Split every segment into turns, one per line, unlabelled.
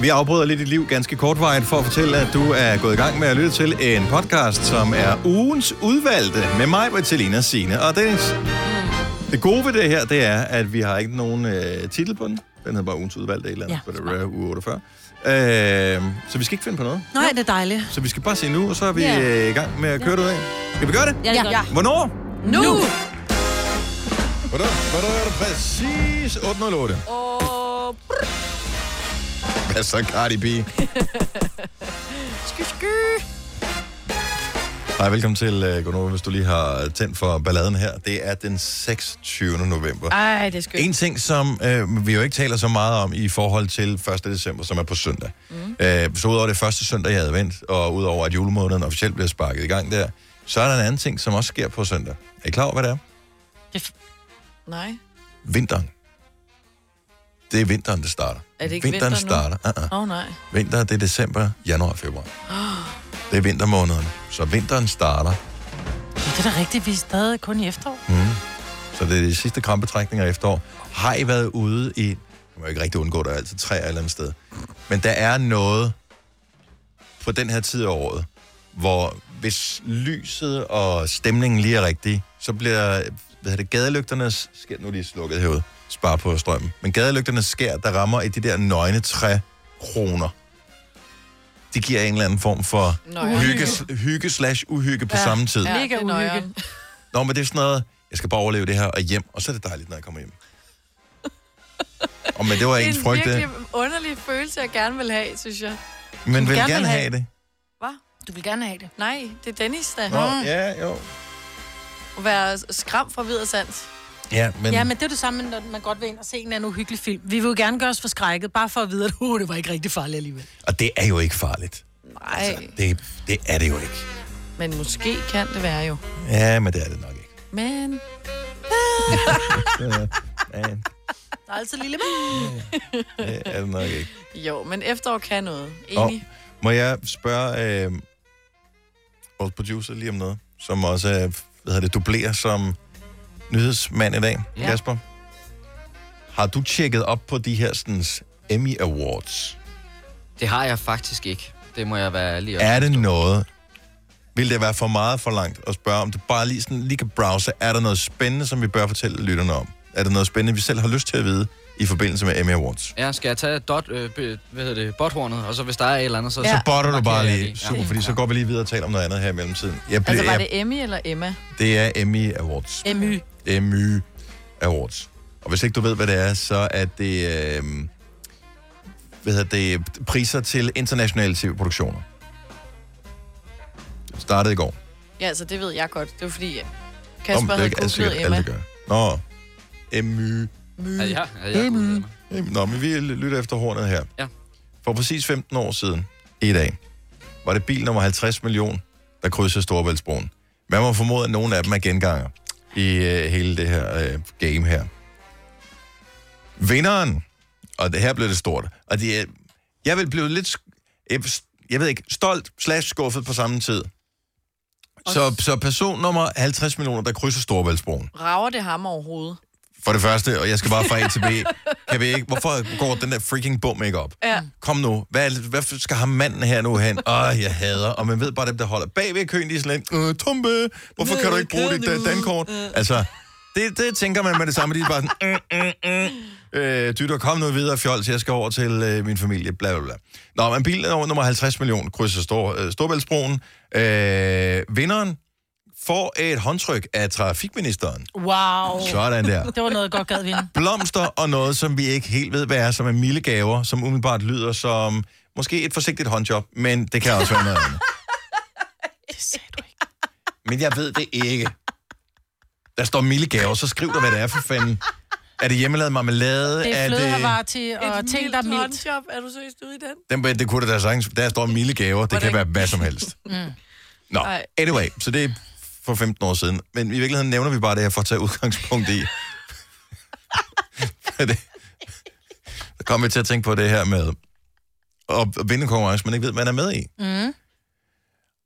Vi afbryder lidt dit liv ganske kortvarigt for at fortælle, at du er gået i gang med at lytte til en podcast, som er ugens udvalgte med mig, Bertilina Sine og Dennis.
Mm.
Det gode ved det her, det er, at vi har ikke nogen øh, titel på den. Den hedder bare ugens udvalgte et eller andet, ja, det er uge 48. Øh, så vi skal ikke finde på noget.
Nej, det er dejligt.
Så vi skal bare se nu, og så er vi
Ja.
øh, i gang med at køre det ud af. Skal vi gøre det?
Ja, det er Ja. godt.
Hvornår?
Nu! nu.
Hvornår? Hvornår er det præcis 8.08?
Og...
Hvad så, Cardi B?
Sky, sky.
Hej, velkommen til uh, Gunova, hvis du lige har tændt for balladen her. Det er den 26. november.
Ej, det er skønt.
En ting, som øh, vi jo ikke taler så meget om i forhold til 1. december, som er på søndag. Mm. Øh, så udover det første søndag i advent, og udover at julemåneden officielt bliver sparket i gang der, så er der en anden ting, som også sker på søndag. Er I klar over, hvad det er?
Nej.
Vinteren. Det er vinteren, det starter.
Er det ikke
vinteren
vinter nu?
starter. Uh-uh.
Åh, oh, nej.
Vinter, det er december, januar og februar.
Oh,
Det er vintermånederne. Så vinteren starter
det er da rigtigt, vi er stadig kun i efterår.
Mm. Så det er de sidste krampetrækninger i efterår. Har I været ude i... Du må ikke rigtig undgå, der er altid træer et eller andet sted. Men der er noget på den her tid af året, hvor hvis lyset og stemningen lige er rigtig, så bliver hvad hedder det, gadelygternes... Skær, nu er de slukket herude. Spar på strømmen. Men gadelygternes skær, der rammer i de der nøgne træ kroner. Det giver en eller anden form for
Nøje.
hygge, hygge slash uhygge på ja, samme tid.
Ja, Mega uhygge.
Nå, men det er sådan noget, jeg skal bare overleve det her og hjem, og så er det dejligt, når jeg kommer hjem. og men det var
Det er
ens
en
frygt,
virkelig
det.
underlig følelse, jeg gerne vil have, synes jeg.
Men vil
gerne
gerne
vil
have det.
Hvad? Du vil gerne have det. Nej, det er Dennis, der.
Nå, ja, jo.
At være skram fra videre sands.
Ja, men...
Ja, men det er det samme, når man godt vil ind og se en eller anden uhyggelig film. Vi vil jo gerne gøre os forskrækket, bare for at vide, at uh, det var ikke rigtig farligt alligevel.
Og det er jo ikke farligt.
Nej, altså.
Det, det er det jo ikke.
men måske kan det være jo.
Ja, men det er det nok ikke.
Men...
Det er,
Der er altid lille
det er det nok ikke.
Jo, men efterår kan noget.
Og
Enig.
må jeg spørge øh, vores producer lige om noget, som også øh, hvad hedder det, dublerer som nyhedsmand i dag,
Ja.
ja. Kasper? Har du tjekket op på de her sådan, Emmy Awards?
Det har jeg faktisk ikke. Det må jeg være ærlig om.
Er det noget, vil det være for meget for langt at spørge, om du bare lige, sådan, lige kan browse, er der noget spændende, som vi bør fortælle lytterne om? Er der noget spændende, vi selv har lyst til at vide i forbindelse med Emmy Awards?
Ja, skal jeg tage dot, øh, be, hvad hedder det, botthornet, og så hvis der er et eller andet, så...
Ja. Så botter du
markerer
bare
jeg
lige.
det.
Super, fordi så går vi lige videre og taler om noget andet her i mellemtiden. Jeg bliver,
Altså, var
jeg,
det Emmy eller Emma?
det er Emmy Awards.
Emmy.
MY Awards. Og hvis ikke du ved, hvad det er, så er det, øh, hvad hedder det priser til internationale tv-produktioner. Det startede i går.
Ja, altså, det ved jeg godt. Det var fordi,
Nå, men
Kasper
det er
havde
ikke alt sikkert
googlet
alle,
Emma.
der gør. Nå, MY.
My.
Ja, ja, ja, ja.
MY. Nå, men vi lytter efter hornet her.
Ja.
For præcis 15 år siden, i dag, var det bil nummer 50 million, der krydsede Storebæltsbroen. Man må formode, at nogle af dem er genganger i øh, hele det her øh, game her. Vinderen, og det her blev det stort, og det, er- jeg vil blive lidt, sk- jeg, jeg ved ikke, stolt slash skuffet på samme tid. Så, så person nummer 50 millioner, der krydser Storebæltsbroen
Rager det ham overhovedet?
for det første, og jeg skal bare fra A til B. Kan vi ikke? Hvorfor går den der freaking bum ikke op?
Ja.
Kom nu, hvad, hvad skal ham manden her nu hen? Åh, oh, jeg hader, og man ved bare dem, der holder bag ved køen, de er sådan lidt, øh, Tumpe, hvorfor kan du ikke bruge dit øh, dankort? Altså, det, det tænker man med det samme, de er bare sådan, mm, mm, mm. Øh, dytter, kom nu videre, fjols, jeg skal over til øh, min familie, bla bla bla. Nå, men bilen over nummer 50 millioner krydser Stor, øh, Storbæltsbroen. Øh, vinderen får et håndtryk af trafikministeren.
Wow.
Sådan der.
Det var noget, jeg godt gad vinde.
blomster og noget, som vi ikke helt ved, hvad er, som er milde gaver, som umiddelbart lyder som måske et forsigtigt håndjob, men det kan også være noget andet.
Det sagde du ikke.
Men jeg ved det ikke. Der står milde gaver, så skriv dig, hvad det er for fanden. Er det hjemmelavet marmelade?
Det er flødehavarti og
Et
ting, der er mildt.
håndjob. Er du seriøst ude i den?
Den, det kunne det da sagtens. Der står milde gaver. Det kan være hvad som helst. Mm. Nå,
Ej.
anyway. Så det er for 15 år siden. Men i virkeligheden nævner vi bare det her for at tage udgangspunkt i. Hvad det- Der kommer vi til at tænke på det her med at vinde en konkurrence, man ikke ved, man er med i.
Mm.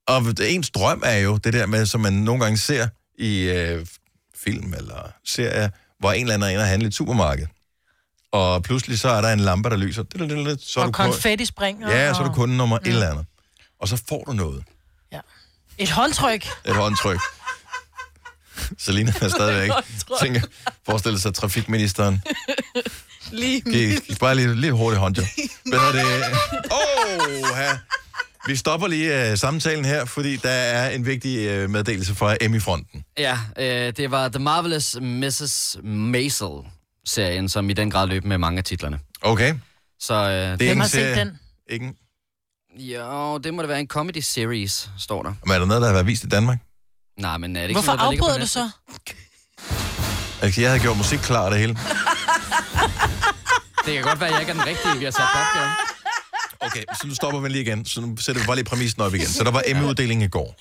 Og ens drøm er jo det der med, som man nogle gange ser i øh, film eller serier, hvor en eller anden er inde og handler i et supermarked. og pludselig så er der en lampe, der lyser. Så er
Og
du kun-
konfetti springer.
Ja, så er du
og-
kunde nummer et eller andet. Og så får du noget.
Ja. Et håndtryk.
Et håndtryk. Selina er stadigvæk.
Håndtryk.
Tænker, forestil sig trafikministeren.
Lige
Giv, giv bare lige, lige hurtigt håndjob. Hvad er det? Åh, ja. Vi stopper lige uh, samtalen her, fordi der er en vigtig uh, meddelelse fra Emmy-fronten.
Ja, øh, det var The Marvelous Mrs. Maisel-serien, som i den grad løb med mange af titlerne.
Okay?
Så øh, det...
Det er
Hvem
ikke
har
en
set
serie.
den?
Ikke en-
Jo, det må da være en comedy series, står der.
Men er der noget, der har været vist i Danmark?
Nej, men er det ikke
Hvorfor
sådan, noget, der ligger på
afbryder du
Netflix?
så?
Altså, jeg havde gjort musik klar og det hele.
Det kan godt være, at jeg ikke er den rigtige, vi har sat op her.
Okay, så nu stopper vi lige igen. Så nu sætter vi bare lige præmissen op igen. Så der var Emmy-uddelingen i går.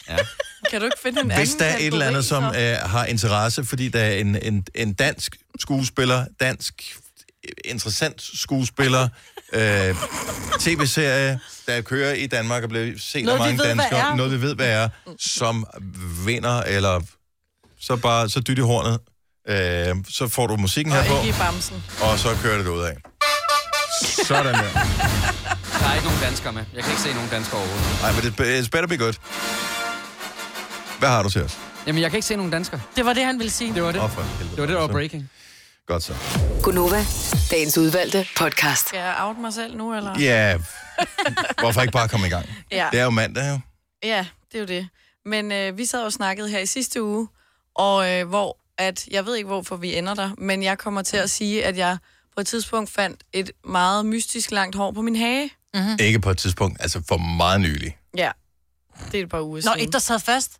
Kan du ikke finde en
Hvis
anden
der er et eller andet, som
kategori,
øh, har interesse, fordi der er en, en, en dansk skuespiller, dansk øh, interessant skuespiller, øh, tv-serie, der kører i Danmark og bliver set af
Noget, vi
mange
ved, hvad
danskere,
er.
noget vi ved, hvad er, som vinder, eller så bare, så dyt i hornet, øh, så får du musikken her
så-
på,
Ikke i bamsen.
og så kører det ud af. Sådan der.
Der er ikke nogen danskere med. Jeg kan ikke se nogen danskere overhovedet.
Ej, men det it's better be good. Hvad har du til os?
Jamen, jeg kan ikke se nogen danskere.
Det var det, han ville sige.
Det var det.
Åh, for helvede.
Det var det, der var breaking.
Godt så.
Gunova, dagens udvalgte podcast.
Skal jeg out mig selv nu, eller?
Ja, hvorfor ikke bare komme i gang?
Ja.
Det er jo mandag, jo.
Ja, det er jo det. Men øh, vi sad og snakkede her i sidste uge, og øh, hvor at, jeg ved ikke, hvorfor vi ender der, men jeg kommer til at sige, at jeg på et tidspunkt fandt et meget mystisk langt hår på min hage.
Ikke på et tidspunkt, altså for meget nylig.
Ja, det er et par uger
Nå,
siden.
et, der sad fast.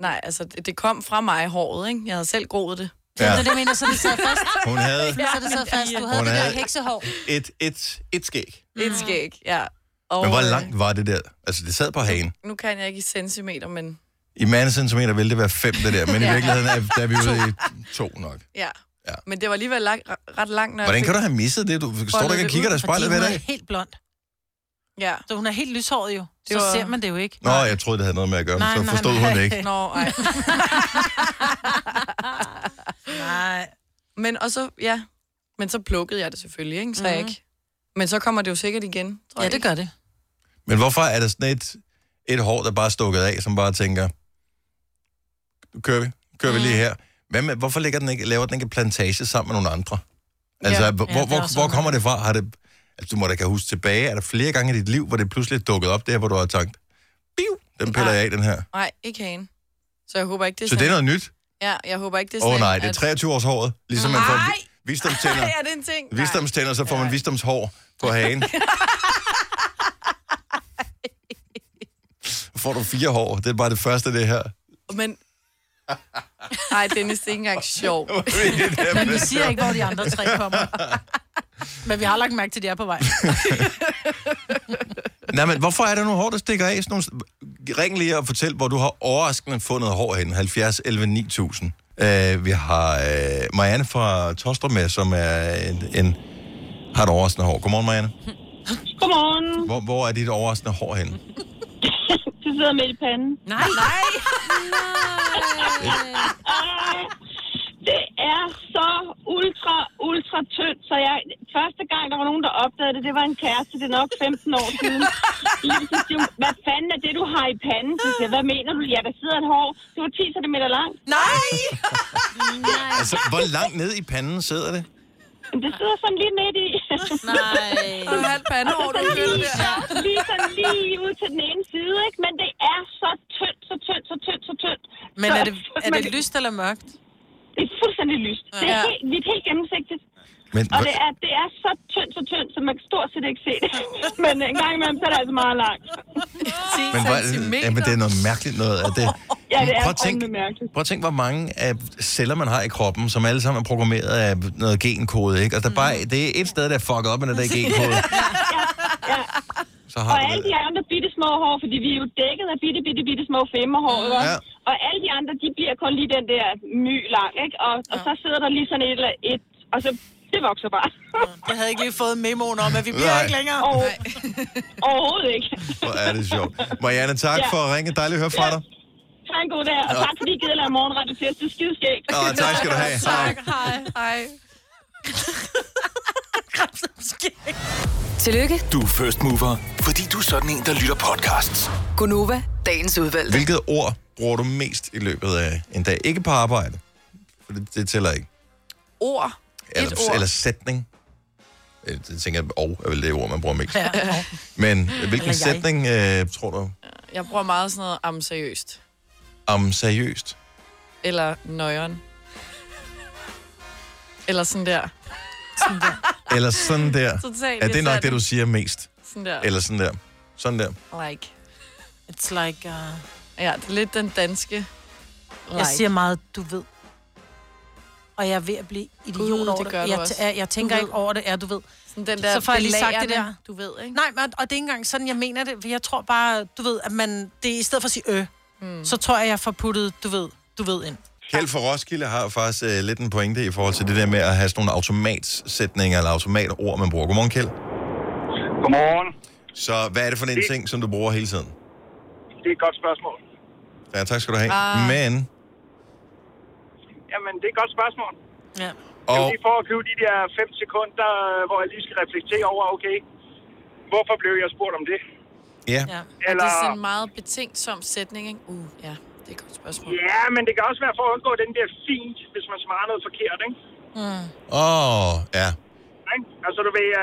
Nej, altså, det, det kom fra mig, håret, ikke? Jeg havde selv groet det.
Ja.
Ja.
Det er det, jeg mener, så det sad fast.
Hun havde
Så det sad fast. Du havde
Hun
det der
havde-
heksehår.
et, et, et skæg.
Mm.
Et skæg, ja. Og,
Men hvor
øh,
langt var det der? Altså, det sad på hagen.
Nu kan jeg ikke i centimeter, men
I mandesentimeter ville det være fem, det der. Men i
Ja.
virkeligheden er, der er vi ude i to nok.
ja.
Ja.
Men det var alligevel lang, ret langt, når
Hvordan
jeg
kan du have misset det? Du står der ikke og kigger dig i
Fordi
spejlet
hun
ved
er
dag.
helt blond.
Ja.
Så hun er helt lyshåret jo.
Det
Så
var-
ser man det jo ikke.
Nå, jeg troede, det havde noget med at gøre, men
Nej,
så
nej,
forstod
nej.
hun det ikke.
Nå, ej.
Nej.
Men, og så, ja. Men så plukkede jeg det selvfølgelig, ikke? Så mm. jeg
Mhm.
ikke. Men så kommer det jo sikkert igen, tror
Ja,
jeg.
det gør det.
Men hvorfor er der sådan et, et hår, der bare er stukket af, som bare tænker, "Nu kører vi, kører vi
Mm.
lige her. Hvad med, hvorfor ligger den ikke, laver den ikke en plantage sammen med nogle andre? Altså, ja,
Ja. Ja,
hvor,
det er
ja, hvor,
også
hvor
sådan.
kommer det fra? Har det, altså, du må da kan huske tilbage, er der flere gange i dit liv, hvor det pludselig er dukket op der, hvor du har tænkt, biu, den piller jeg af, den her.
Nej, ikke hagen. Så jeg håber ikke, det er
Så det er
sådan-
noget nyt?
Ja, jeg håber ikke, det er
Åh oh,
sådan,
nej, det er
at-
23 års håret, ligesom man får
Nej!
vi- visdomstænder.
Ej, er det en ting? Nej.
Visdomstænder, så får man visdomshår på hagen. får du fire hår. Det er bare det første, det her.
Men... Nej, Dennis, det er ikke engang sjovt.
Men vi siger ikke, hvor de andre tre kommer. Men vi har lagt mærke til, at de er på vej.
Nej, men hvorfor er der nogle hår, der stikker af? Sådan nogle... Ring lige og fortæl, hvor du har overraskende fundet hår hen. 70 11 9000. Uh, vi har uh, Marianne fra Tostrup med, som er en, en, har et overraskende hår. Godmorgen, Marianne.
Godmorgen.
Hvor, hvor er dit overraskende hår hen?
Du sidder midt i panden.
Nej, nej.
Ah, det er så ultra, ultra tyndt, så jeg... Første gang, der var nogen, der opdagede det, det var en kæreste, det er nok 15 år siden. Lige så siger hun, hvad fanden er det, du har i panden? Så siger, jeg, hvad mener du? Ja, der sidder et hår. Det var 10 cm langt.
Nej.
Altså, hvor langt ned i panden sidder det?
Men det sidder sådan lige midt i.
Nej.
Du er halvt pandehår, du
Sådan
føler
lige,
der.
lige sådan lige ud til den ene side, ikke? Men det er så tyndt, så tyndt, så tyndt, så tyndt.
Men
Så-
er det, er
man-
det lyst eller mørkt?
Det er fuldstændig lyst. Det er
Ja.
helt, vi er helt gennemsigtigt.
Men,
Og det er, det er så tyndt, så tyndt, så man kan stort set ikke se det. Men en gang imellem, så er det altså meget langt.
10
Men, hvor,
centimeter.
ja, men det er noget mærkeligt noget. At det,
Ja, det er
prøv, at tænk,
fandme mærkeligt.
prøv at tænk, hvor mange af celler, man har i kroppen, som alle sammen er programmeret af noget genkode. Ikke?
Mm.
Altså, der er bare, det er et sted, der er fucket op med den der genkode.
Ja.
Så
Og
har du
alle
det.
de andre bitte små hår, fordi vi er jo dækket af bitte, bitte, bitte små femmerhår, ikke?
Ja.
også? Og alle de andre, de bliver kun lige den der my lang, ikke? Og, og så sidder der lige sådan et eller et, og så det vokser bare.
Jeg havde ikke lige fået memoen om, at vi bliver
Nej.
ikke længere.
Og, overhovedet ikke.
Hvor er det sjovt. Marianne, tak
Ja.
for at ringe. Dejligt at høre fra dig.
Tak en god dag, og tak fordi I gider lade morgenradio til os. Det er skideskægt.
Nå, tak skal du have. Hej.
Tak, hej. Hej.
krebsomskæg.
Tillykke,
Du er first mover, fordi du er sådan en, der lytter podcasts.
Gunova, dagens udvalgte.
Hvilket ord bruger du mest i løbet af en dag? Ikke på arbejde, for det, det tæller ikke.
Ord.
Eller,
Et ord.
eller sætning. Øh, Det tænker jeg, og er vel det ord, man bruger mest.
Ja,
Men hvilken
jeg.
sætning øh, tror du
Jeg bruger meget sådan noget am seriøst.
om seriøst?
Eller nøjeren. Eller sådan der.
Eller sådan der.
Totalt.
Er det nok det, du siger mest?
Sådan der.
Eller sådan der. Sådan der.
Like.
It's like, uh,
Ja, det er lidt den danske. Like.
jeg siger meget, du ved. Og jeg er ved at blive idiot
Gud,
over
det
det.
gør du
jeg,
også.
jeg, jeg tænker
ved.
ikke over det, ja, du ved.
sådan den der
så får jeg lige sagt det
belærende,
der.
Du ved, ikke?
Nej, men, og det er ikke engang sådan, jeg mener det. for Jeg tror bare, du ved, at man, det er i stedet for at sige ø,
Hmm.
mm. så tror jeg, jeg får puttet, du ved, du ved ind.
Kjeld for Roskilde har faktisk øh, lidt en pointe i forhold til det der med at have sådan nogle automatsætninger eller automatord, man bruger. Godmorgen, Kjeld.
Godmorgen.
Så hvad er det for en ting, som du bruger hele tiden?
Det er et godt spørgsmål.
Ja, tak skal du have.
Ah.
Men,
Jamen, det er et godt spørgsmål.
Ja.
Det er
og
jo lige for at købe de der 5 sekunder, øh, hvor jeg lige skal reflektere over, okay, hvorfor blev jeg spurgt om det?
ja,
ja.
Eller... Det
Eller,
er sådan en meget betænksom sætning, ikke? Uh, ja, det er et godt spørgsmål.
ja, men det kan også være for at undgå den der fint, hvis man svarer noget forkert, ikke?
åh, ja.
Ikke? Altså, du ved, øh,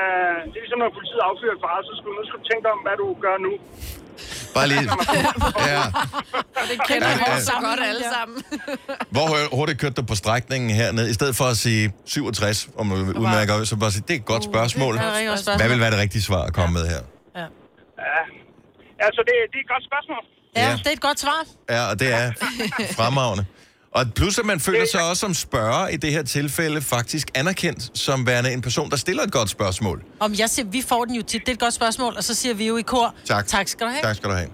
det er ligesom når politiet affyrer et far, så skulle nu skulle du tænke dig om, hvad du gør nu.
Bare lige. Ja.
Det kender
Ja,
vi
ja.
også så godt alle sammen.
Hvor hu- hurtigt kørte du på strækningen hernede? I stedet for at sige 67, om du udmærker, øje, så bare sige, det er et godt spørgsmål.
Uh, Det er rigtig godt
Hvad vil
spørgsmål.
være det rigtige svar at komme med her?
Altså, det, det er et godt spørgsmål.
Ja,
Ja.
det er et godt svar.
Ja, og det er fremragende. Og plus, at man føler sig også som spørger i det her tilfælde faktisk anerkendt som værende en person, der stiller et godt spørgsmål.
Om jeg siger, vi får den jo tit, det er et godt spørgsmål, og så siger vi jo i kor,
Tak.
tak skal du have.
Tak skal du have.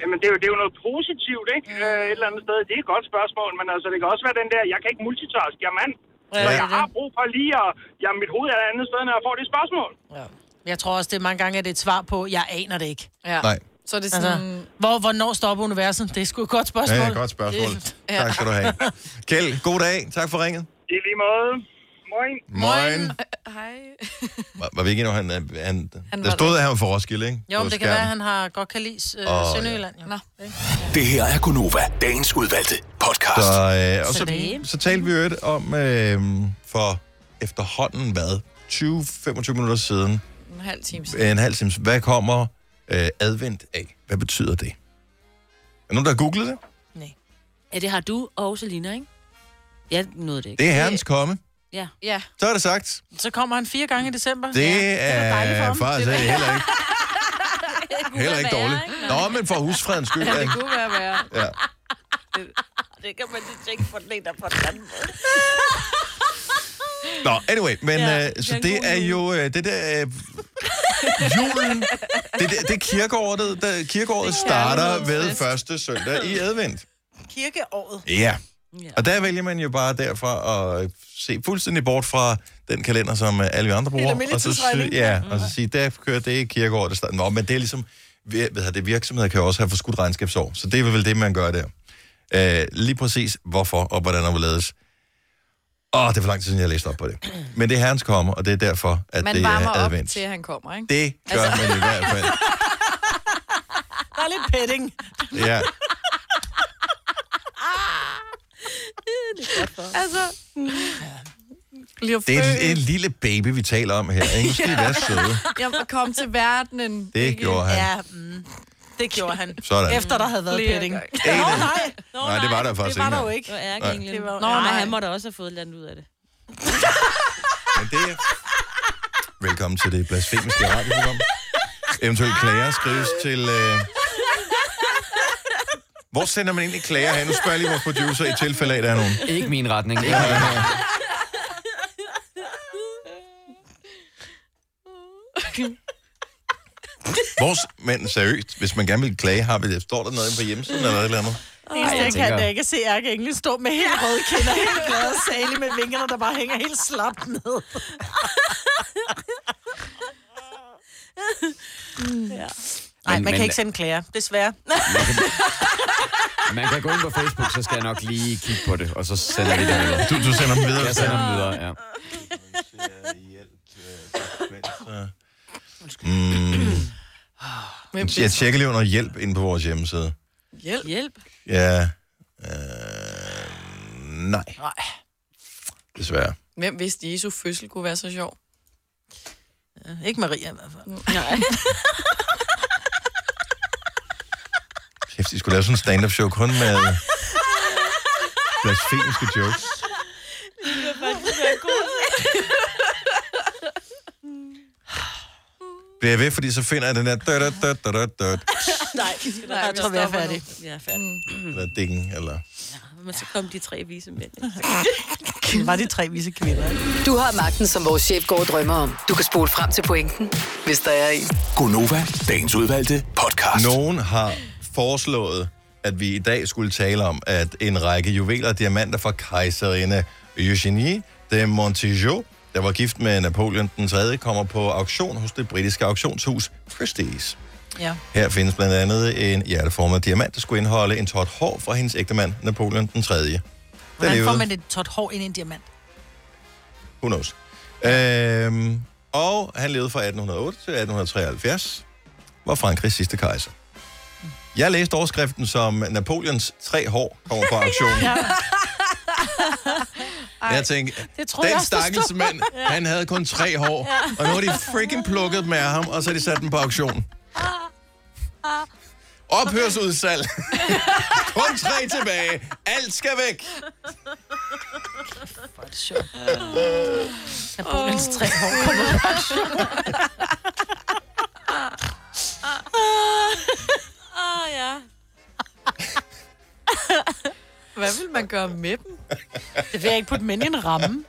Jamen, det er jo, det er jo noget positivt, ikke?
Mm.
Øh, et eller andet sted. Det er et godt spørgsmål, men altså, det kan også være den der, jeg kan ikke multitask, jeg er mand. Så
det er
jeg har brug for lige at... Jamen, mit hoved er et andet sted, når jeg får det spørgsmål.
Ja. Jeg tror også, det er mange gange, at det er et svar på, jeg aner det ikke.
Ja.
Nej.
Så er det sådan...
Altså, hvor, hvornår stopper universet? Det er sgu et godt spørgsmål.
Ja, godt spørgsmål.
Ja.
Tak skal du have. Kjeld, god dag. Tak for ringet.
I lige måde. Moin.
Moin.
Hej.
Var, var vi ikke endnu, han, øh, han, han der
var
stod, at han var fra Roskilde, ikke?
Jo,
På
men det kan
skærmen.
være, at han har godt kan lide øh,
Åh,
oh, Sønderjylland. Ja.
Nå.
Det her er Gunova, dagens udvalgte podcast. Så.
Så, øh, og
Så
så,
det-
så talte vi jo et om øh, for efterhånden, hvad? 20-25 minutter siden,
En halv time siden.
en halv time, hvad kommer øh, advent af? Hvad betyder det? Er der nogen, der har googlet det?
Ja, det har du og Selina, ikke? Jeg nåede det ikke.
Det er herrens komme.
Ja.
Ja,
Så er det sagt.
Så kommer han fire gange i december.
Det
Ja, da dejligt for
er
ham.
faktisk
Det er-
heller ikke,
Det
heller ikke dårligt. Nå, men for husfredens skyld.
det
ikke?
kunne være værre.
Ja.
Det kan man lige tænke på den ene og på den anden måde.
Nå, anyway, men ja,
Ja,
øh, så
det er en
det er
god
jo øh, det der øh, julen, det, det, det kirkeåret, der, kirkeåret starter ved første søndag i advent.
Kirkeåret.
Ja.
Ja.
Og der vælger man jo bare derfra at se fuldstændig bort fra den kalender, som øh, alle vi andre bruger.
almindelig
Og så, sy-
tidsregning.
ja, og så sige, der kører det i kirkeåret. Der starter. Nå, men det er ligesom, ved, ved det, virksomheder kan jo også have forskudt regnskabsår, så det er vel det, man gør der. Øh, lige præcis hvorfor og hvordan og hvorledes. Åh, det er for lang tid siden, jeg har læst op på det. Men det er herrens kommer, og det er derfor, at
Man
det er
varmer op
advent.
til, at han kommer, ikke?
Det gør altså... man i hvert fald.
Der er lidt petting.
Ja.
Altså... Bliver
Det er en, en
født.
lille baby, vi taler om her. Ikke? Nu skal I være søde.
Jeg kom til verdenen.
Det gjorde han.
Ja, mm, det gjorde han.
Sådan.
Efter der havde været
Flere
petting.
gange.
Nå, nej. Nå,
Nej, det var der faktisk
det var
ikke
der jo
engang.
Det var ærgerligt.
ikke. Det
Det
var-
var, Nå,
Nej.
nej. han måtte også have fået et eller andet ud af det.
Men det er... Velkommen til det blasfemiske radioprogram. Eventuelt klager skrives til... Øh... Hvor sender man egentlig klager hen? Nu spørger jeg lige vores producer i tilfælde af, at der er nogen.
Ikke min retning. Ikke min retning.
Vores, men seriøst, hvis man gerne vil klage, har vi det. Står der noget inde på hjemmesiden eller et eller andet?
Det eneste, jeg
tænker-
kan, da ikke se Ærke Engel stå med helt røde kinder, helt glade sale med vingerne, der bare hænger helt slapt ned. Nej, man
men-
kan ikke sende klager, desværre.
Man kan gå ind på Facebook, så skal jeg nok lige kigge på det, og så sender vi det videre.
Du, du sender dem videre.
Jeg sender dem videre, ja.
Så... Mm. Jeg tjekker lige under hjælp inde på vores hjemmeside.
Hjælp. Hjælp.
Ja. Øh, nej,
Nej.
desværre.
Hvem vidste, Jesu fødsel kunne være så sjov?
Ikke Maria i hvert fald.
Nej.
Kæft, de skulle lave sådan en stand-up show kun med øh, blasfemiske jokes. Bliver jeg ved, fordi så finder jeg den der død, død, død, død, død,
Nej,
Nej, jeg tror, vi er færdige.
Vi er færdige.
eller dingen, eller...
Men så kom de tre vise mænd.
Var de tre vise kvinder, ikke?
Du har magten, som vores chef går og drømmer om. Du kan spole frem til pointen, hvis der er en.
Gonova, dagens udvalgte podcast.
Nogen har foreslået, at vi i dag skulle tale om, at en række juveler og diamanter fra kejserinde Eugenie de Montijo, der var gift med Napoleon den 3., kommer på auktion hos det britiske auktionshus Christie's.
Ja.
Her findes blandt andet en hjerteformet diamant, der skulle indeholde en tot hår fra hendes ægtemand Napoleon den 3. Den
Hvordan får man et tot hår ind i en diamant?
Who knows? Øhm, og han levede fra 1808 til 1873, var Frankrigs sidste kejser. Jeg læste overskriften som Napoleons tre hår kommer på auktionen. Jeg tænkte,
Det tror jeg
den
også, der
stakkels mand, han havde kun tre hår, og nu har de freaking plukket med ham, og så har de sat den på auktion.
Ah,
Ophørsudsalg. kun tre tilbage. Alt skal væk.
Napoleons tre hår kommer på auktion.
Ah, ja.
Hvad vil man gøre med dem?
Det vil jeg ikke putte mænd i en ramme.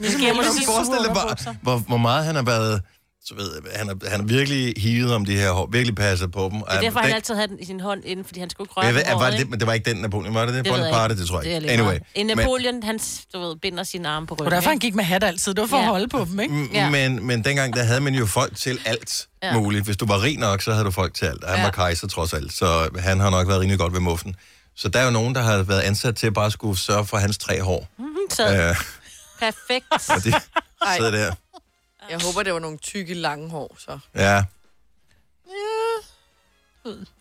Ja. skal jeg må sige
Forestil dig bare, hvor, hvor meget han har været... Så ved jeg, han har, han har virkelig hivet om de her hår, virkelig passet på dem.
Det er derfor, han altid havde den i sin hånd inden, fordi han skulle ikke røre
jeg ved,
ved,
jeg, var det, men det var ikke den Napoleon, var det det?
ved jeg
Bonaparte,
ikke.
det tror jeg
Det er
ikke.
lidt
Anyway.
meget. En Napoleon, han du ved, binder sine arme på ryggen.
Og derfor han
ikke?
gik med hat altid. Det var for at
Ja.
holde på dem, ikke?
Men,
Ja.
men, men dengang, der havde man jo folk til alt ja.
Ja.
muligt. Hvis du var rig nok, så havde du folk til alt. Og han ja.
Ja.
var kejser trods alt, så han har nok været rimelig godt ved muffen. Så der er jo nogen, der har været ansat til at bare skulle sørge for hans tre hår.
Så
Ja. Øh,
perfekt.
og de sidder der.
Jeg håber, det var nogle tykke, lange hår, så.
Ja.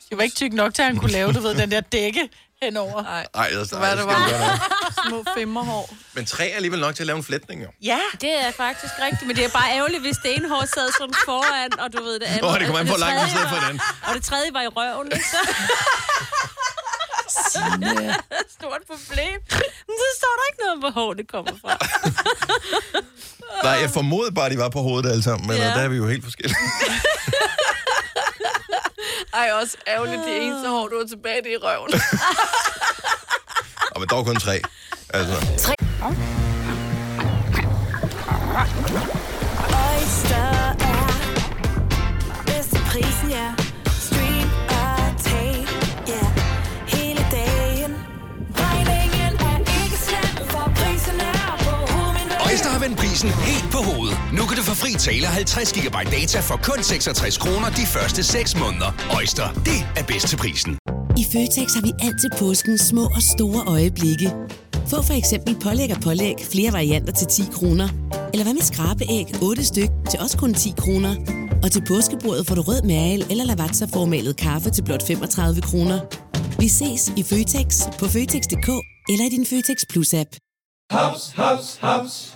Det var ikke tyk nok til, at han kunne lave, du ved, den der dække henover.
Nej,
Ej, altså,
Hvad
ej,
det
skal
var?
vi gøre noget.
små femmerhår.
Men tre er alligevel nok til at lave en flætning, jo.
Ja.
Det er faktisk rigtigt, men det er bare ærgerligt, hvis det ene hår sad sådan foran, og du ved det andet.
Åh, det kommer an
og
på, hvor langt
tredje
du sidder på
var-
den.
Og det tredje var i røven, ikke? Så... Stort problem. Men så står der ikke noget om, hvor hår det kommer fra.
Nej, jeg formodede bare, at de var på hovedet alle sammen, men
Ja.
ja. der er vi jo helt forskellige.
Ej, også ærgerligt, det eneste hår, du har tilbage, det er i røven.
Og men dog kun tre. Altså.
Oyster er bedst til prisen, ja. Stream og tag, ja. Hele dagen. Regningen er ikke slem, for prisen er på
Øjster har vendt prisen helt på hovedet. Nu kan du få fri tale 50 GB data for kun 66 kroner de første 6 måneder. Øjster, det er bedst til prisen.
I Føtex har vi alt til påsken små og store øjeblikke. Få for eksempel pålæg og pålæg flere varianter til 10 kroner. Eller hvad med skrabeæg 8 styk til også kun 10 kroner. Og til påskebordet får du rød mal eller lavatserformalet kaffe til blot 35 kroner. Vi ses i Føtex på Føtex.dk eller i din Føtex Plus-app.
Haps, haps, haps.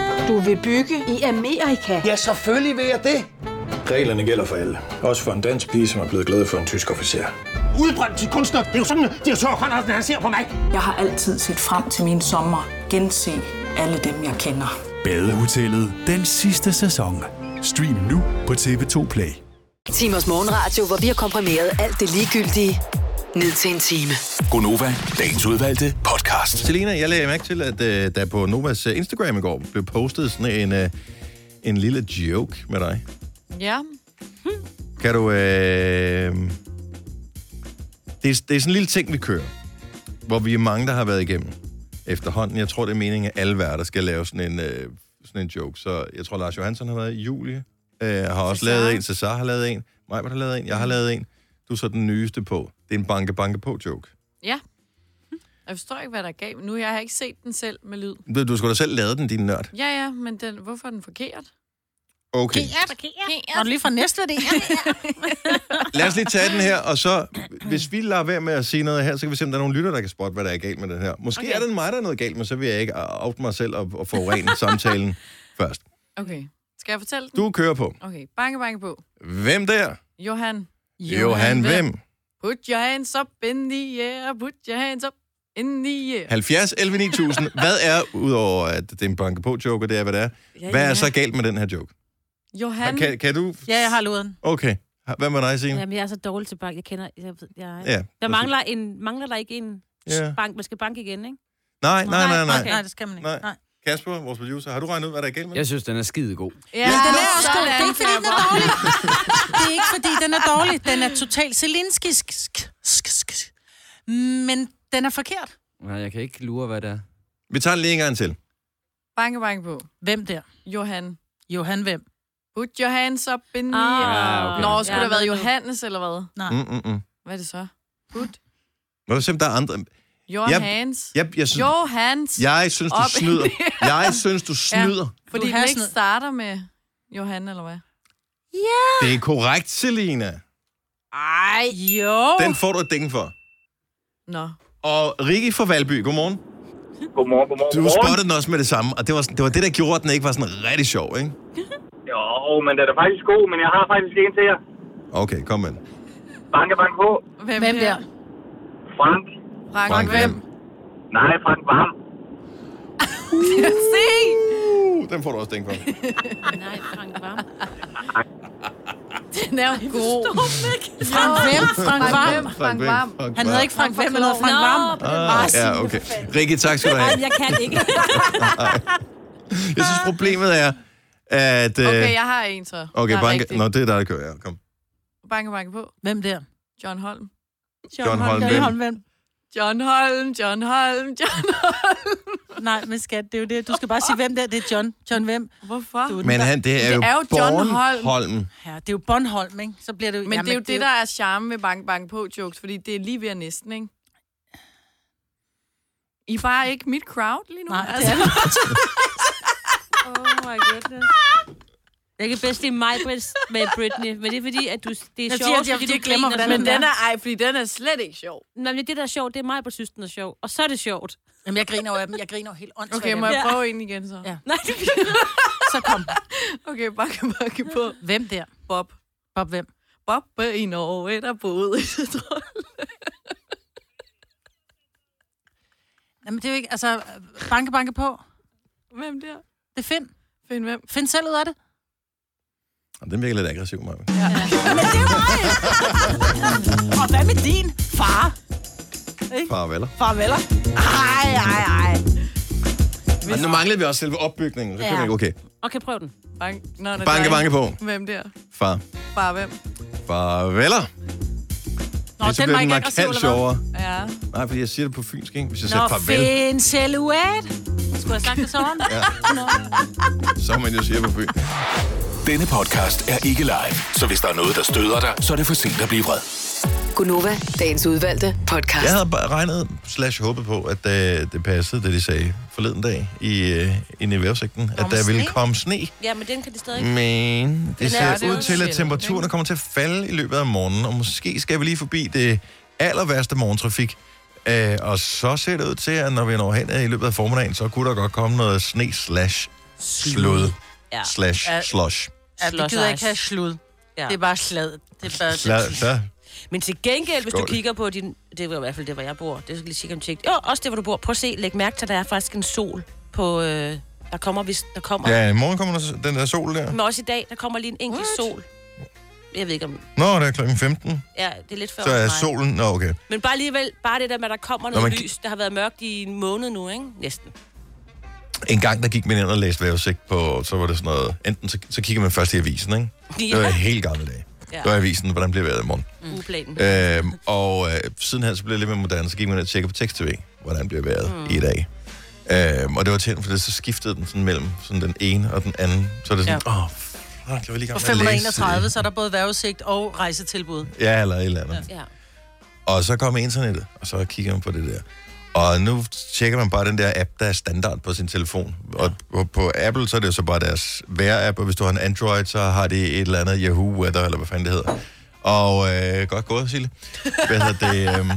Du vil bygge i Amerika? Ja, selvfølgelig vil jeg det.
Reglerne gælder for alle. Også for en dansk pige, som er blevet glad for en tysk officer.
Udbrøndt til kunstner. Det er jo sådan, at de har tørt, han ser på mig. Jeg har altid set frem til min sommer. Gense alle dem, jeg kender.
Badehotellet den sidste sæson. Stream nu på TV2 Play.
Timers morgenradio, hvor vi har komprimeret alt det ligegyldige ned til en time.
Gonova, dagens udvalgte podcast.
Selina, jeg lagde mærke til, at øh, der på Novas øh, Instagram i går blev postet sådan en, øh, en lille joke med dig.
Ja.
Kan du... Øh, det, er, det er sådan en lille ting, vi kører, hvor vi er mange, der har været igennem. efterhånden. Jeg tror, det er meningen, at alle værter skal lave sådan en, øh, sådan en joke. Så jeg tror, Lars Johansson har været i Julie. Øh, har også lavet en. Cesar har lavet en. Majbert har lavet en. Jeg har lavet en. Du er så den nyeste på. Det er en banke-banke-på-joke.
Ja. Hm. Jeg forstår ikke, hvad der gav nu. Jeg har ikke set den selv med lyd.
Du, du skulle da selv lave den, din nørd.
Ja, ja, men den, hvorfor er den forkert?
Okay.
Forkert.
Når du lige fra næste det.
Lad os lige tage den her, og så, hvis vi lader være med at sige noget her, så kan vi se, om der er nogle lytter, der kan spotte, hvad der er galt med den her. Måske okay. er det mig, der er noget galt med, så vil jeg ikke out mig selv og, og forurene samtalen først.
Okay. Skal jeg fortælle den?
Du kører på.
Okay. Banke, banke på.
Hvem der?
Johan.
Johan, hvem?
Put your hands up in the air. Put your hands up in the air.
70 11 9000. Hvad er, udover at det er en banke på joke, og det er, hvad det er,
Ja,
hvad er
ja.
så galt med den her joke?
Johan.
Kan, kan du?
Ja, jeg har luden.
Okay. Hvad med dig, Signe?
Jamen, jeg er så dårlig til bank. Jeg kender... Jeg, ved- jeg,
Ja,
ja,
det er
der mangler, en, mangler der ikke en
Ja.
ja. bank. Man skal banke igen, ikke?
Nej, nej, nej, nej.
Okay. Nej, det skal man ikke.
Nej. Kasper, vores producer, har du regnet ud, hvad der er galt med
Jeg synes, den er skide god.
Ja, men den Ah, er også god. Det
sådan,
er ikke, fordi den er dårlig. Det er ikke, fordi den er dårlig. Den er totalt selinskisk. Men den er forkert.
Nej, jeg kan ikke lure, hvad det er.
Vi tager den lige en gang til.
Banke, banke på.
Hvem der?
Johan.
Johan hvem?
Put your hands up in the
Ah,
air.
Ja, okay.
Nå, skulle
Ja,
det have været
men-
Johannes eller hvad?
Nej.
Mm, mm, mm.
Hvad er det så? Put
Må jeg se, om der er andre...
your
Jeg-
hands.
jeg- jeg synes-
your hands.
Jeg synes, du
up in
snyder.
the air.
Jeg synes, du snyder.
Ja, fordi
Du
den
har
ikke
snyd.
starter med Johan, eller hvad?
Det er korrekt, Selina.
Ej, jo.
Oh.
Den får du et ding for.
Nå.
Og Rikke fra Valby, godmorgen.
Godmorgen, godmorgen.
Du spottede den også med det samme, og det var, sådan- det var det, der gjorde, at den ikke var sådan rigtig sjov, ikke?
Jo, men det er da faktisk god, men jeg har faktisk en til jer.
Okay, kom med. den.
Banke, banke på.
Hvem, Hvem der?
Frank.
Frank, Frank hvem?
Nej, Frank Varm.
Se!
Uh, den får du også ding for.
Nej, Frank Vam.
Den er jo god.
Frank hvem? Frank Vam.
Frank Hvem. Frank Vam.
Han hedder ikke Frank Hvem, han hedder Frank
Nå,
Vam.
Ah, ja, okay. Rikke, tak skal du have.
jeg kan ikke.
Jeg synes, problemet er, at... øh,
Okay, jeg har en så.
Okay,
Der er
banke.
rigtig.
Nå, det er dig, der kører. Ja, kom.
Banke, banke på.
Hvem der?
John Holm.
John Holm, hvem? John
hvem?
John Holm, John Holm, John
Holm. Nej, men skat, det er jo det. Du skal bare sige, hvem der. Det er John. John hvem?
Hvorfor?
Du,
Men han, det er, jo Bornholm.
Ja, det er jo Bornholm, ikke? Så bliver det jo...
Men det er jo det, der er charme med bank bank på jokes, fordi det er lige ved at næsten, ikke? I er bare ikke mit crowd lige nu.
Nej, det
altså.
er
oh my goodness.
Jeg kan bedst lide mig med Britney, men det er fordi, at du, det er
Jeg
sjovt,
siger, at jeg-
fordi du
jeg glemmer,
griner,
hvordan den er. Ej, fordi den er slet ikke sjov.
Nej, men det, der er sjovt, det er mig, der synes, den er sjov. Og så er det sjovt.
Jamen, jeg griner jo af dem. Jeg griner jo helt åndssvagt
Okay,
af
må
dem.
jeg prøve en igen så?
Ja.
Nej,
så kom.
Okay, bakke, bakke på.
Hvem der?
Bob.
Bob hvem?
Bob øh, i Norge, der boede i det trold.
Jamen, det er jo ikke... Altså, banke, banke på.
Hvem der?
Det er Finn.
Finn hvem?
Finn selv ud af det.
Og Den virker lidt aggressiv, Maja.
Men det er mig! Og hvad med din far?
Farveler.
Farveler. Ej, ej, ej.
Men nu manglede vi også selve opbygningen. Så kunne
Ja.
vi ikke, okay.
Okay, prøv den.
Bank, nå, nå,
Banke,
nej.
banke på.
Hvem der?
Far.
Bare hvem?
Farveler.
Nå,
Det er
den var
selvfølgelig
ikke
markant
aggressiv, eller
sjovere.
hvad? Ja.
Nej, fordi jeg siger det på fynsk, ikke? Hvis jeg siger
Nå,
farvel,
Finn selv ud af det. Skulle jeg have sagt det sådan?
Ja. så må man jo sige på fyn.
Denne podcast er ikke live, så hvis der er noget, der støder dig, så er det for sent at blive vred.
Gunova, dagens udvalgte podcast.
Jeg havde bare regnet slash håbet på, at øh, det passede, det de sagde forleden dag i, øh, inde i vejrudsigten, at der ville
sne.
komme sne.
Ja, men den kan det stadig ikke.
Men
er
det ser
det
ud
jo
til, at
sjældent,
temperaturen kommer til at falde i løbet af morgenen, og måske skal vi lige forbi det aller værste morgentrafik. Øh, og så ser det ud til, at når vi når hen øh, i løbet af formiddagen, så kunne der godt komme noget sne slash slud
Ja.
slash
Ja.
slush.
Ja, det gider jeg ikke have slud.
Ja.
Det er bare slad. Det er bare...
Sla, sla.
Men til gengæld, hvis
Skål.
du kigger på din... Det var i hvert fald det, hvor jeg bor. Det skal lige sikkert tjekke. Jo, også det, hvor du bor. Prøv at se. Læg mærke til, at der er faktisk en sol på... Øh, der kommer, hvis der kommer...
Ja, i morgen kommer der s- den der sol der.
Men også i dag, der kommer lige en enkelt sol. Jeg ved ikke om...
Nå, det er klokken 15.
Ja, det er lidt før
Så er
mig.
solen... Nå, okay.
Men bare alligevel, bare det der med, at der kommer
Nå,
noget
man-
lys. Der har været mørkt i en måned nu, ikke? Næsten.
En gang, der gik man ind og læste vejrudsigt på, så var det sådan noget... Enten så, så kigger man først i avisen, ikke? Det var
Ja.
i helt gamle dage.
Ja.
Det var i avisen, hvordan bliver vejret i morgen.
Mm. Uplanen.
Øhm, og øh, siden her, så blev det lidt mere moderne, så gik man ind og tjekkede på tekst-tv, hvordan bliver vejret mm. i dag. Øhm, og det var tændt, for det, så skiftede den sådan mellem sådan den ene og den anden. Så er det sådan, åh, ja. oh, fuck, jeg var lige i
På
gang med at læse.
531, så er der både værvesigt og rejsetilbud.
Ja, eller et eller andet.
Ja.
Og så kommer internettet, og så kigger man på det der. Og nu tjekker man bare den der app, der er standard på sin telefon. Og på- på Apple, så er det jo så bare deres vejr-app, og hvis du har en Android, så har det et eller andet Yahoo Weather, eller hvad fanden det hedder. Og øh, godt gået, Sille. Hvad hedder det? Øhm...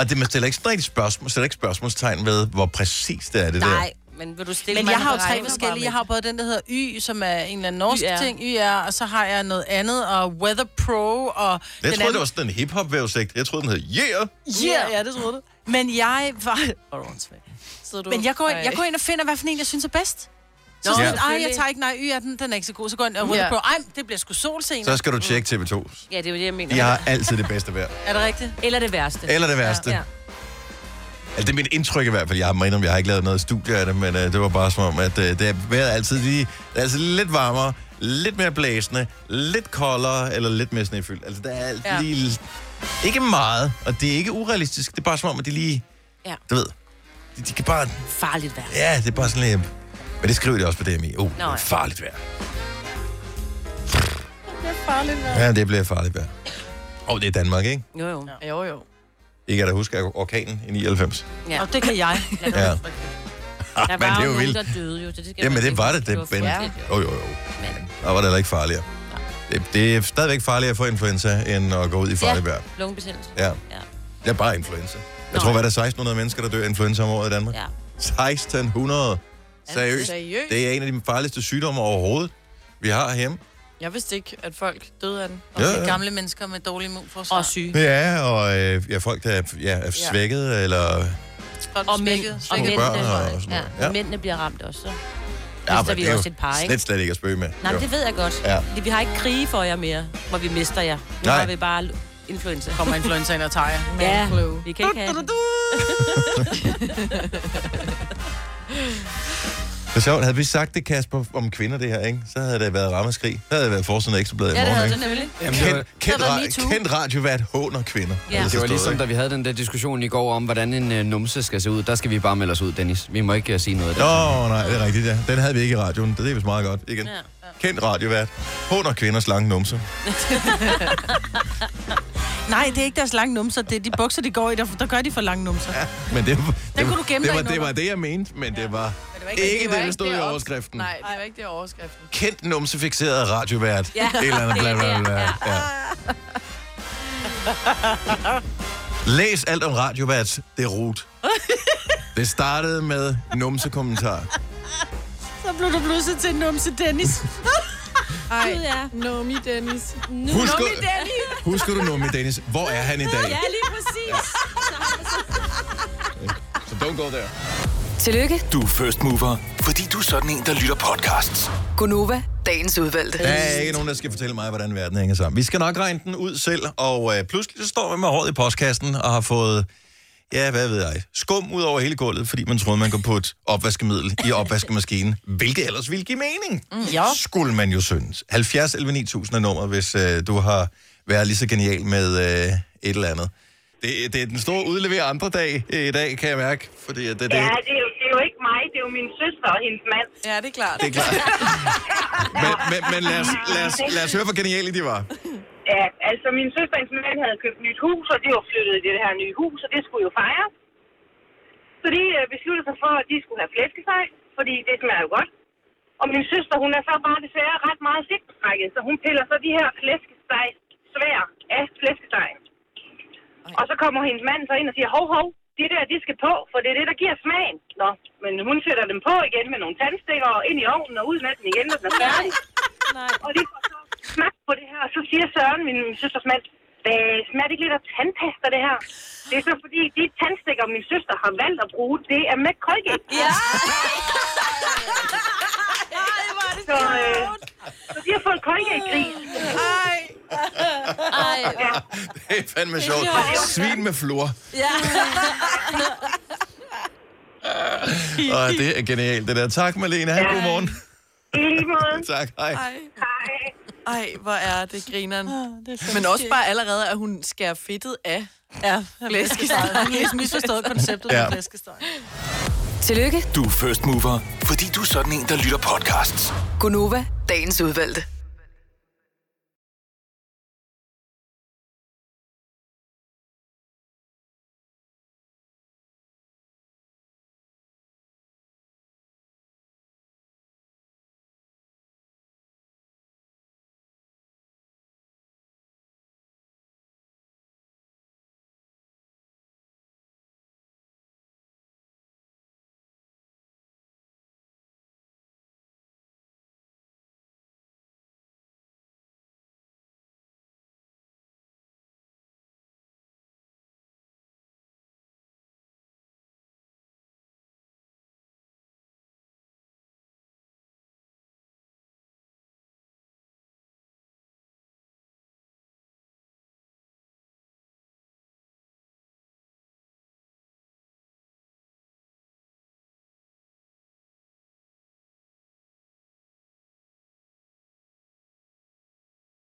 Og det, man stiller ikke sådan rigtig spørgsmål, stiller ikke spørgsmålstegn ved, hvor præcis det er, det der.
Nej, men vil du stille
Men
mig
jeg
nogle
har jo tre
beregninger bare
forskellige.
med?
Jeg har både den, der hedder Y, som er en eller anden norsk
YR.
ting, YR, og så har jeg noget andet, og Weather Pro, og...
Jeg
den
troede,
anden...
det var sådan en hip-hop-vævesigt. Jeg troede, den hed Yeah!
Ja, yeah, ja, det troede du. Men jeg var...
Så du...
Men jeg går, ind, jeg
Ej.
går ind og finder, hvad for en, jeg synes er bedst. Så
Nå,
Nå, sådan,
ja.
ej, jeg tager ikke, nej, y er den, den er ikke så god. Så går jeg ind og Weather
Ja.
Pro. Ej, det bliver sgu solscener.
Så skal du tjekke TV2.
Ja, det er jo det, jeg mener.
De har altid det bedste vejr.
Er det rigtigt?
Eller det værste.
Eller det værste.
Ja.
Altså, det er mit indtryk i hvert fald. Jeg må indrømme, jeg har ikke lavet noget studie af det, men øh, det var bare som om, at øh, det er vejret altid lige, det er altid lidt varmere, lidt mere blæsende, lidt koldere eller lidt mere snefyldt. Altså, der er alt
Ja.
ja. lige... Ikke meget, og det er ikke urealistisk. Det er bare som om, at de lige...
Ja.
Du ved, de, de kan bare...
Farligt vejr.
Ja, det er bare sådan lidt... Men det skriver de også på DMI. Oh,
Nå, ja.
Nå, farligt vejr.
Det er farligt vejr.
Ja, det bliver farligt vejr. Og det er Danmark, ikke?
Jo, jo.
Jo, jo.
Ikke kan da huske orkanen i 99.
Ja.
Og det kan jeg.
Ja.
Der
Ah, Men
var
det er
jo
jo
nogen,
vildt.
der døde jo. så Det skal
Jamen,
man
det
tænke,
var det. det
var
men,
forfærdeligt,
jo, jo, jo. Der var det heller ikke farligere. Det, det er stadigvæk farligere at få influenza, end at gå ud i farligt vejr.
Lungebetændelse.
Ja. Det er bare influenza. Jeg tror, hvad er der er 1600 mennesker, der dør af influenza om året i Danmark?
Ja.
1600. Seriøst.
seriøst?
Det er en af de farligste sygdomme overhovedet, vi har hjemme.
Jeg vidste ikke, at folk døde af den.
Ja, ja.
Gamle mennesker med dårlig immunforsvar. Og syge.
Ja, og øh, ja, folk, der er, ja, er svækket, eller...
Og, mænd, og,
Og
mændene,
børn og sådan noget.
ja.
Ja.
og mændene bliver ramt også. Så.
Ja,
mister
men
vi
det er
også
jo
et par, ikke?
Slet, slet ikke at spøge med.
Nej,
Jo.
men det ved jeg godt.
Ja.
Vi har ikke krige for jer mere, hvor vi mister jer. Nu
Nej.
har vi bare influenza.
Kommer influenzaen og tager jer.
Ja,
Manflu.
vi kan ikke have den.
Det er sjovt. Havde vi sagt det, Kasper, om kvinder det her, ikke? Så havde det været rammeskrig. Så havde det været forsiden af ekstrabladet
Ja,
i morgen,
det havde
ikke?
det nemlig. Jamen, det var-
Kendt,
Det havde
kendt,
været
ra-
Me Too.
kendt radiovært håner kvinder. Altså, havde
Det var
stået,
ligesom,
ikke?
da vi havde den der diskussion i går om, hvordan en øh, numse skal se ud. Der skal vi bare melde os ud, Dennis. Vi må ikke øh, sige noget af det.
Nå, nej, det er rigtigt, ja. Den havde vi ikke i radioen. Det er vist meget godt. Igen. Ja. Kendt radiovært. Håner kvinders lange numse.
Nej, det er ikke deres lange numser. Det er de bukser, de går i, der, der gør de for lange numser. Ja.
Men det, var- det,
kunne
var-
du gemme
det, var,
dig
det
indenunder.
var det, jeg mente, men det var ikke, det, der stod i overskriften.
Nej, det var ikke det i overskriften.
Kendt numsefixeret radiovært.
Ja.
Et eller andet bla bla bla. Ja. Læs alt om radiovært. Det er rot. Det startede med numsekommentar.
Så blev du pludselig til numse Dennis.
Ej, ja. Nomi Dennis. Nu.
Husk at- Husker du nummi, Dennis? Hvor er han i dag?
Ja, lige præcis.
Så don't go there.
Tillykke,
Du er first mover, fordi du er sådan en, der lytter podcasts.
Gunova, dagens udvalgte.
Der er ikke nogen, der skal fortælle mig, hvordan verden hænger sammen. Vi skal nok regne den ud selv, og øh, pludselig så står man med håret i postkassen og har fået, ja, hvad ved jeg, skum ud over hele gulvet, fordi man troede, man kunne putte opvaskemiddel i opvaskemaskinen, hvilket ellers ville give mening. Mm, ja. Skulle man jo synes. 70 11 9000 er nummer, hvis øh, du har været lige så genial med øh, et eller andet. Det, det er den store udlevere andre dag øh, i dag, kan jeg mærke. Fordi at det, det,
Ja, det er, jo, det er jo ikke mig, det er jo min søster og hendes mand.
Ja, det er klart.
Det er klart. men, men, men lad, os, lad, os, lad os høre, hvor geniale de var.
Ja, altså min søster og hendes mand havde købt nyt hus, og de var flyttet i det her nye hus, og det skulle jo fejres. Så de øh, besluttede sig for, at de skulle have flæskesteg, fordi det smager jo godt. Og min søster, hun er så bare desværre ret meget sigtbrækket, så hun piller så de her flæskesteg svær af flæskestegen. Og så kommer hendes mand så ind og siger, hov, hov, det der, det skal på, for det er det, der giver smagen. Nå, men hun sætter dem på igen med nogle tandstikker og ind i ovnen og ud med den igen, når den er færdig. Nej. Og de får så smagt på det her, og så siger Søren, min søsters mand, hvad smager det ikke lidt af tandpasta, det her? Det er så fordi, de tandstikker, min søster har valgt at bruge, det er med Colgate. Ja! Så, øh, så de har fået Colgate-gris. Ej! Ej! Ja.
Det er fandme sjovt. Svin med flor.
Ja.
Og det er genialt, det der. Tak, Malene. Ha' en god morgen.
I lige måde.
Tak, hej.
Hej.
Ej, hvor er det grineren.
det er
det
fandme
Men også
skægt.
bare allerede, at hun skærer fedtet af. Ja, flæskesteg.
Hun har helt misforstået konceptet
Ja.
med flæskesteg.
Tillykke.
Du er first mover, fordi du er sådan en, der lytter podcasts.
Gunova, dagens udvalgte.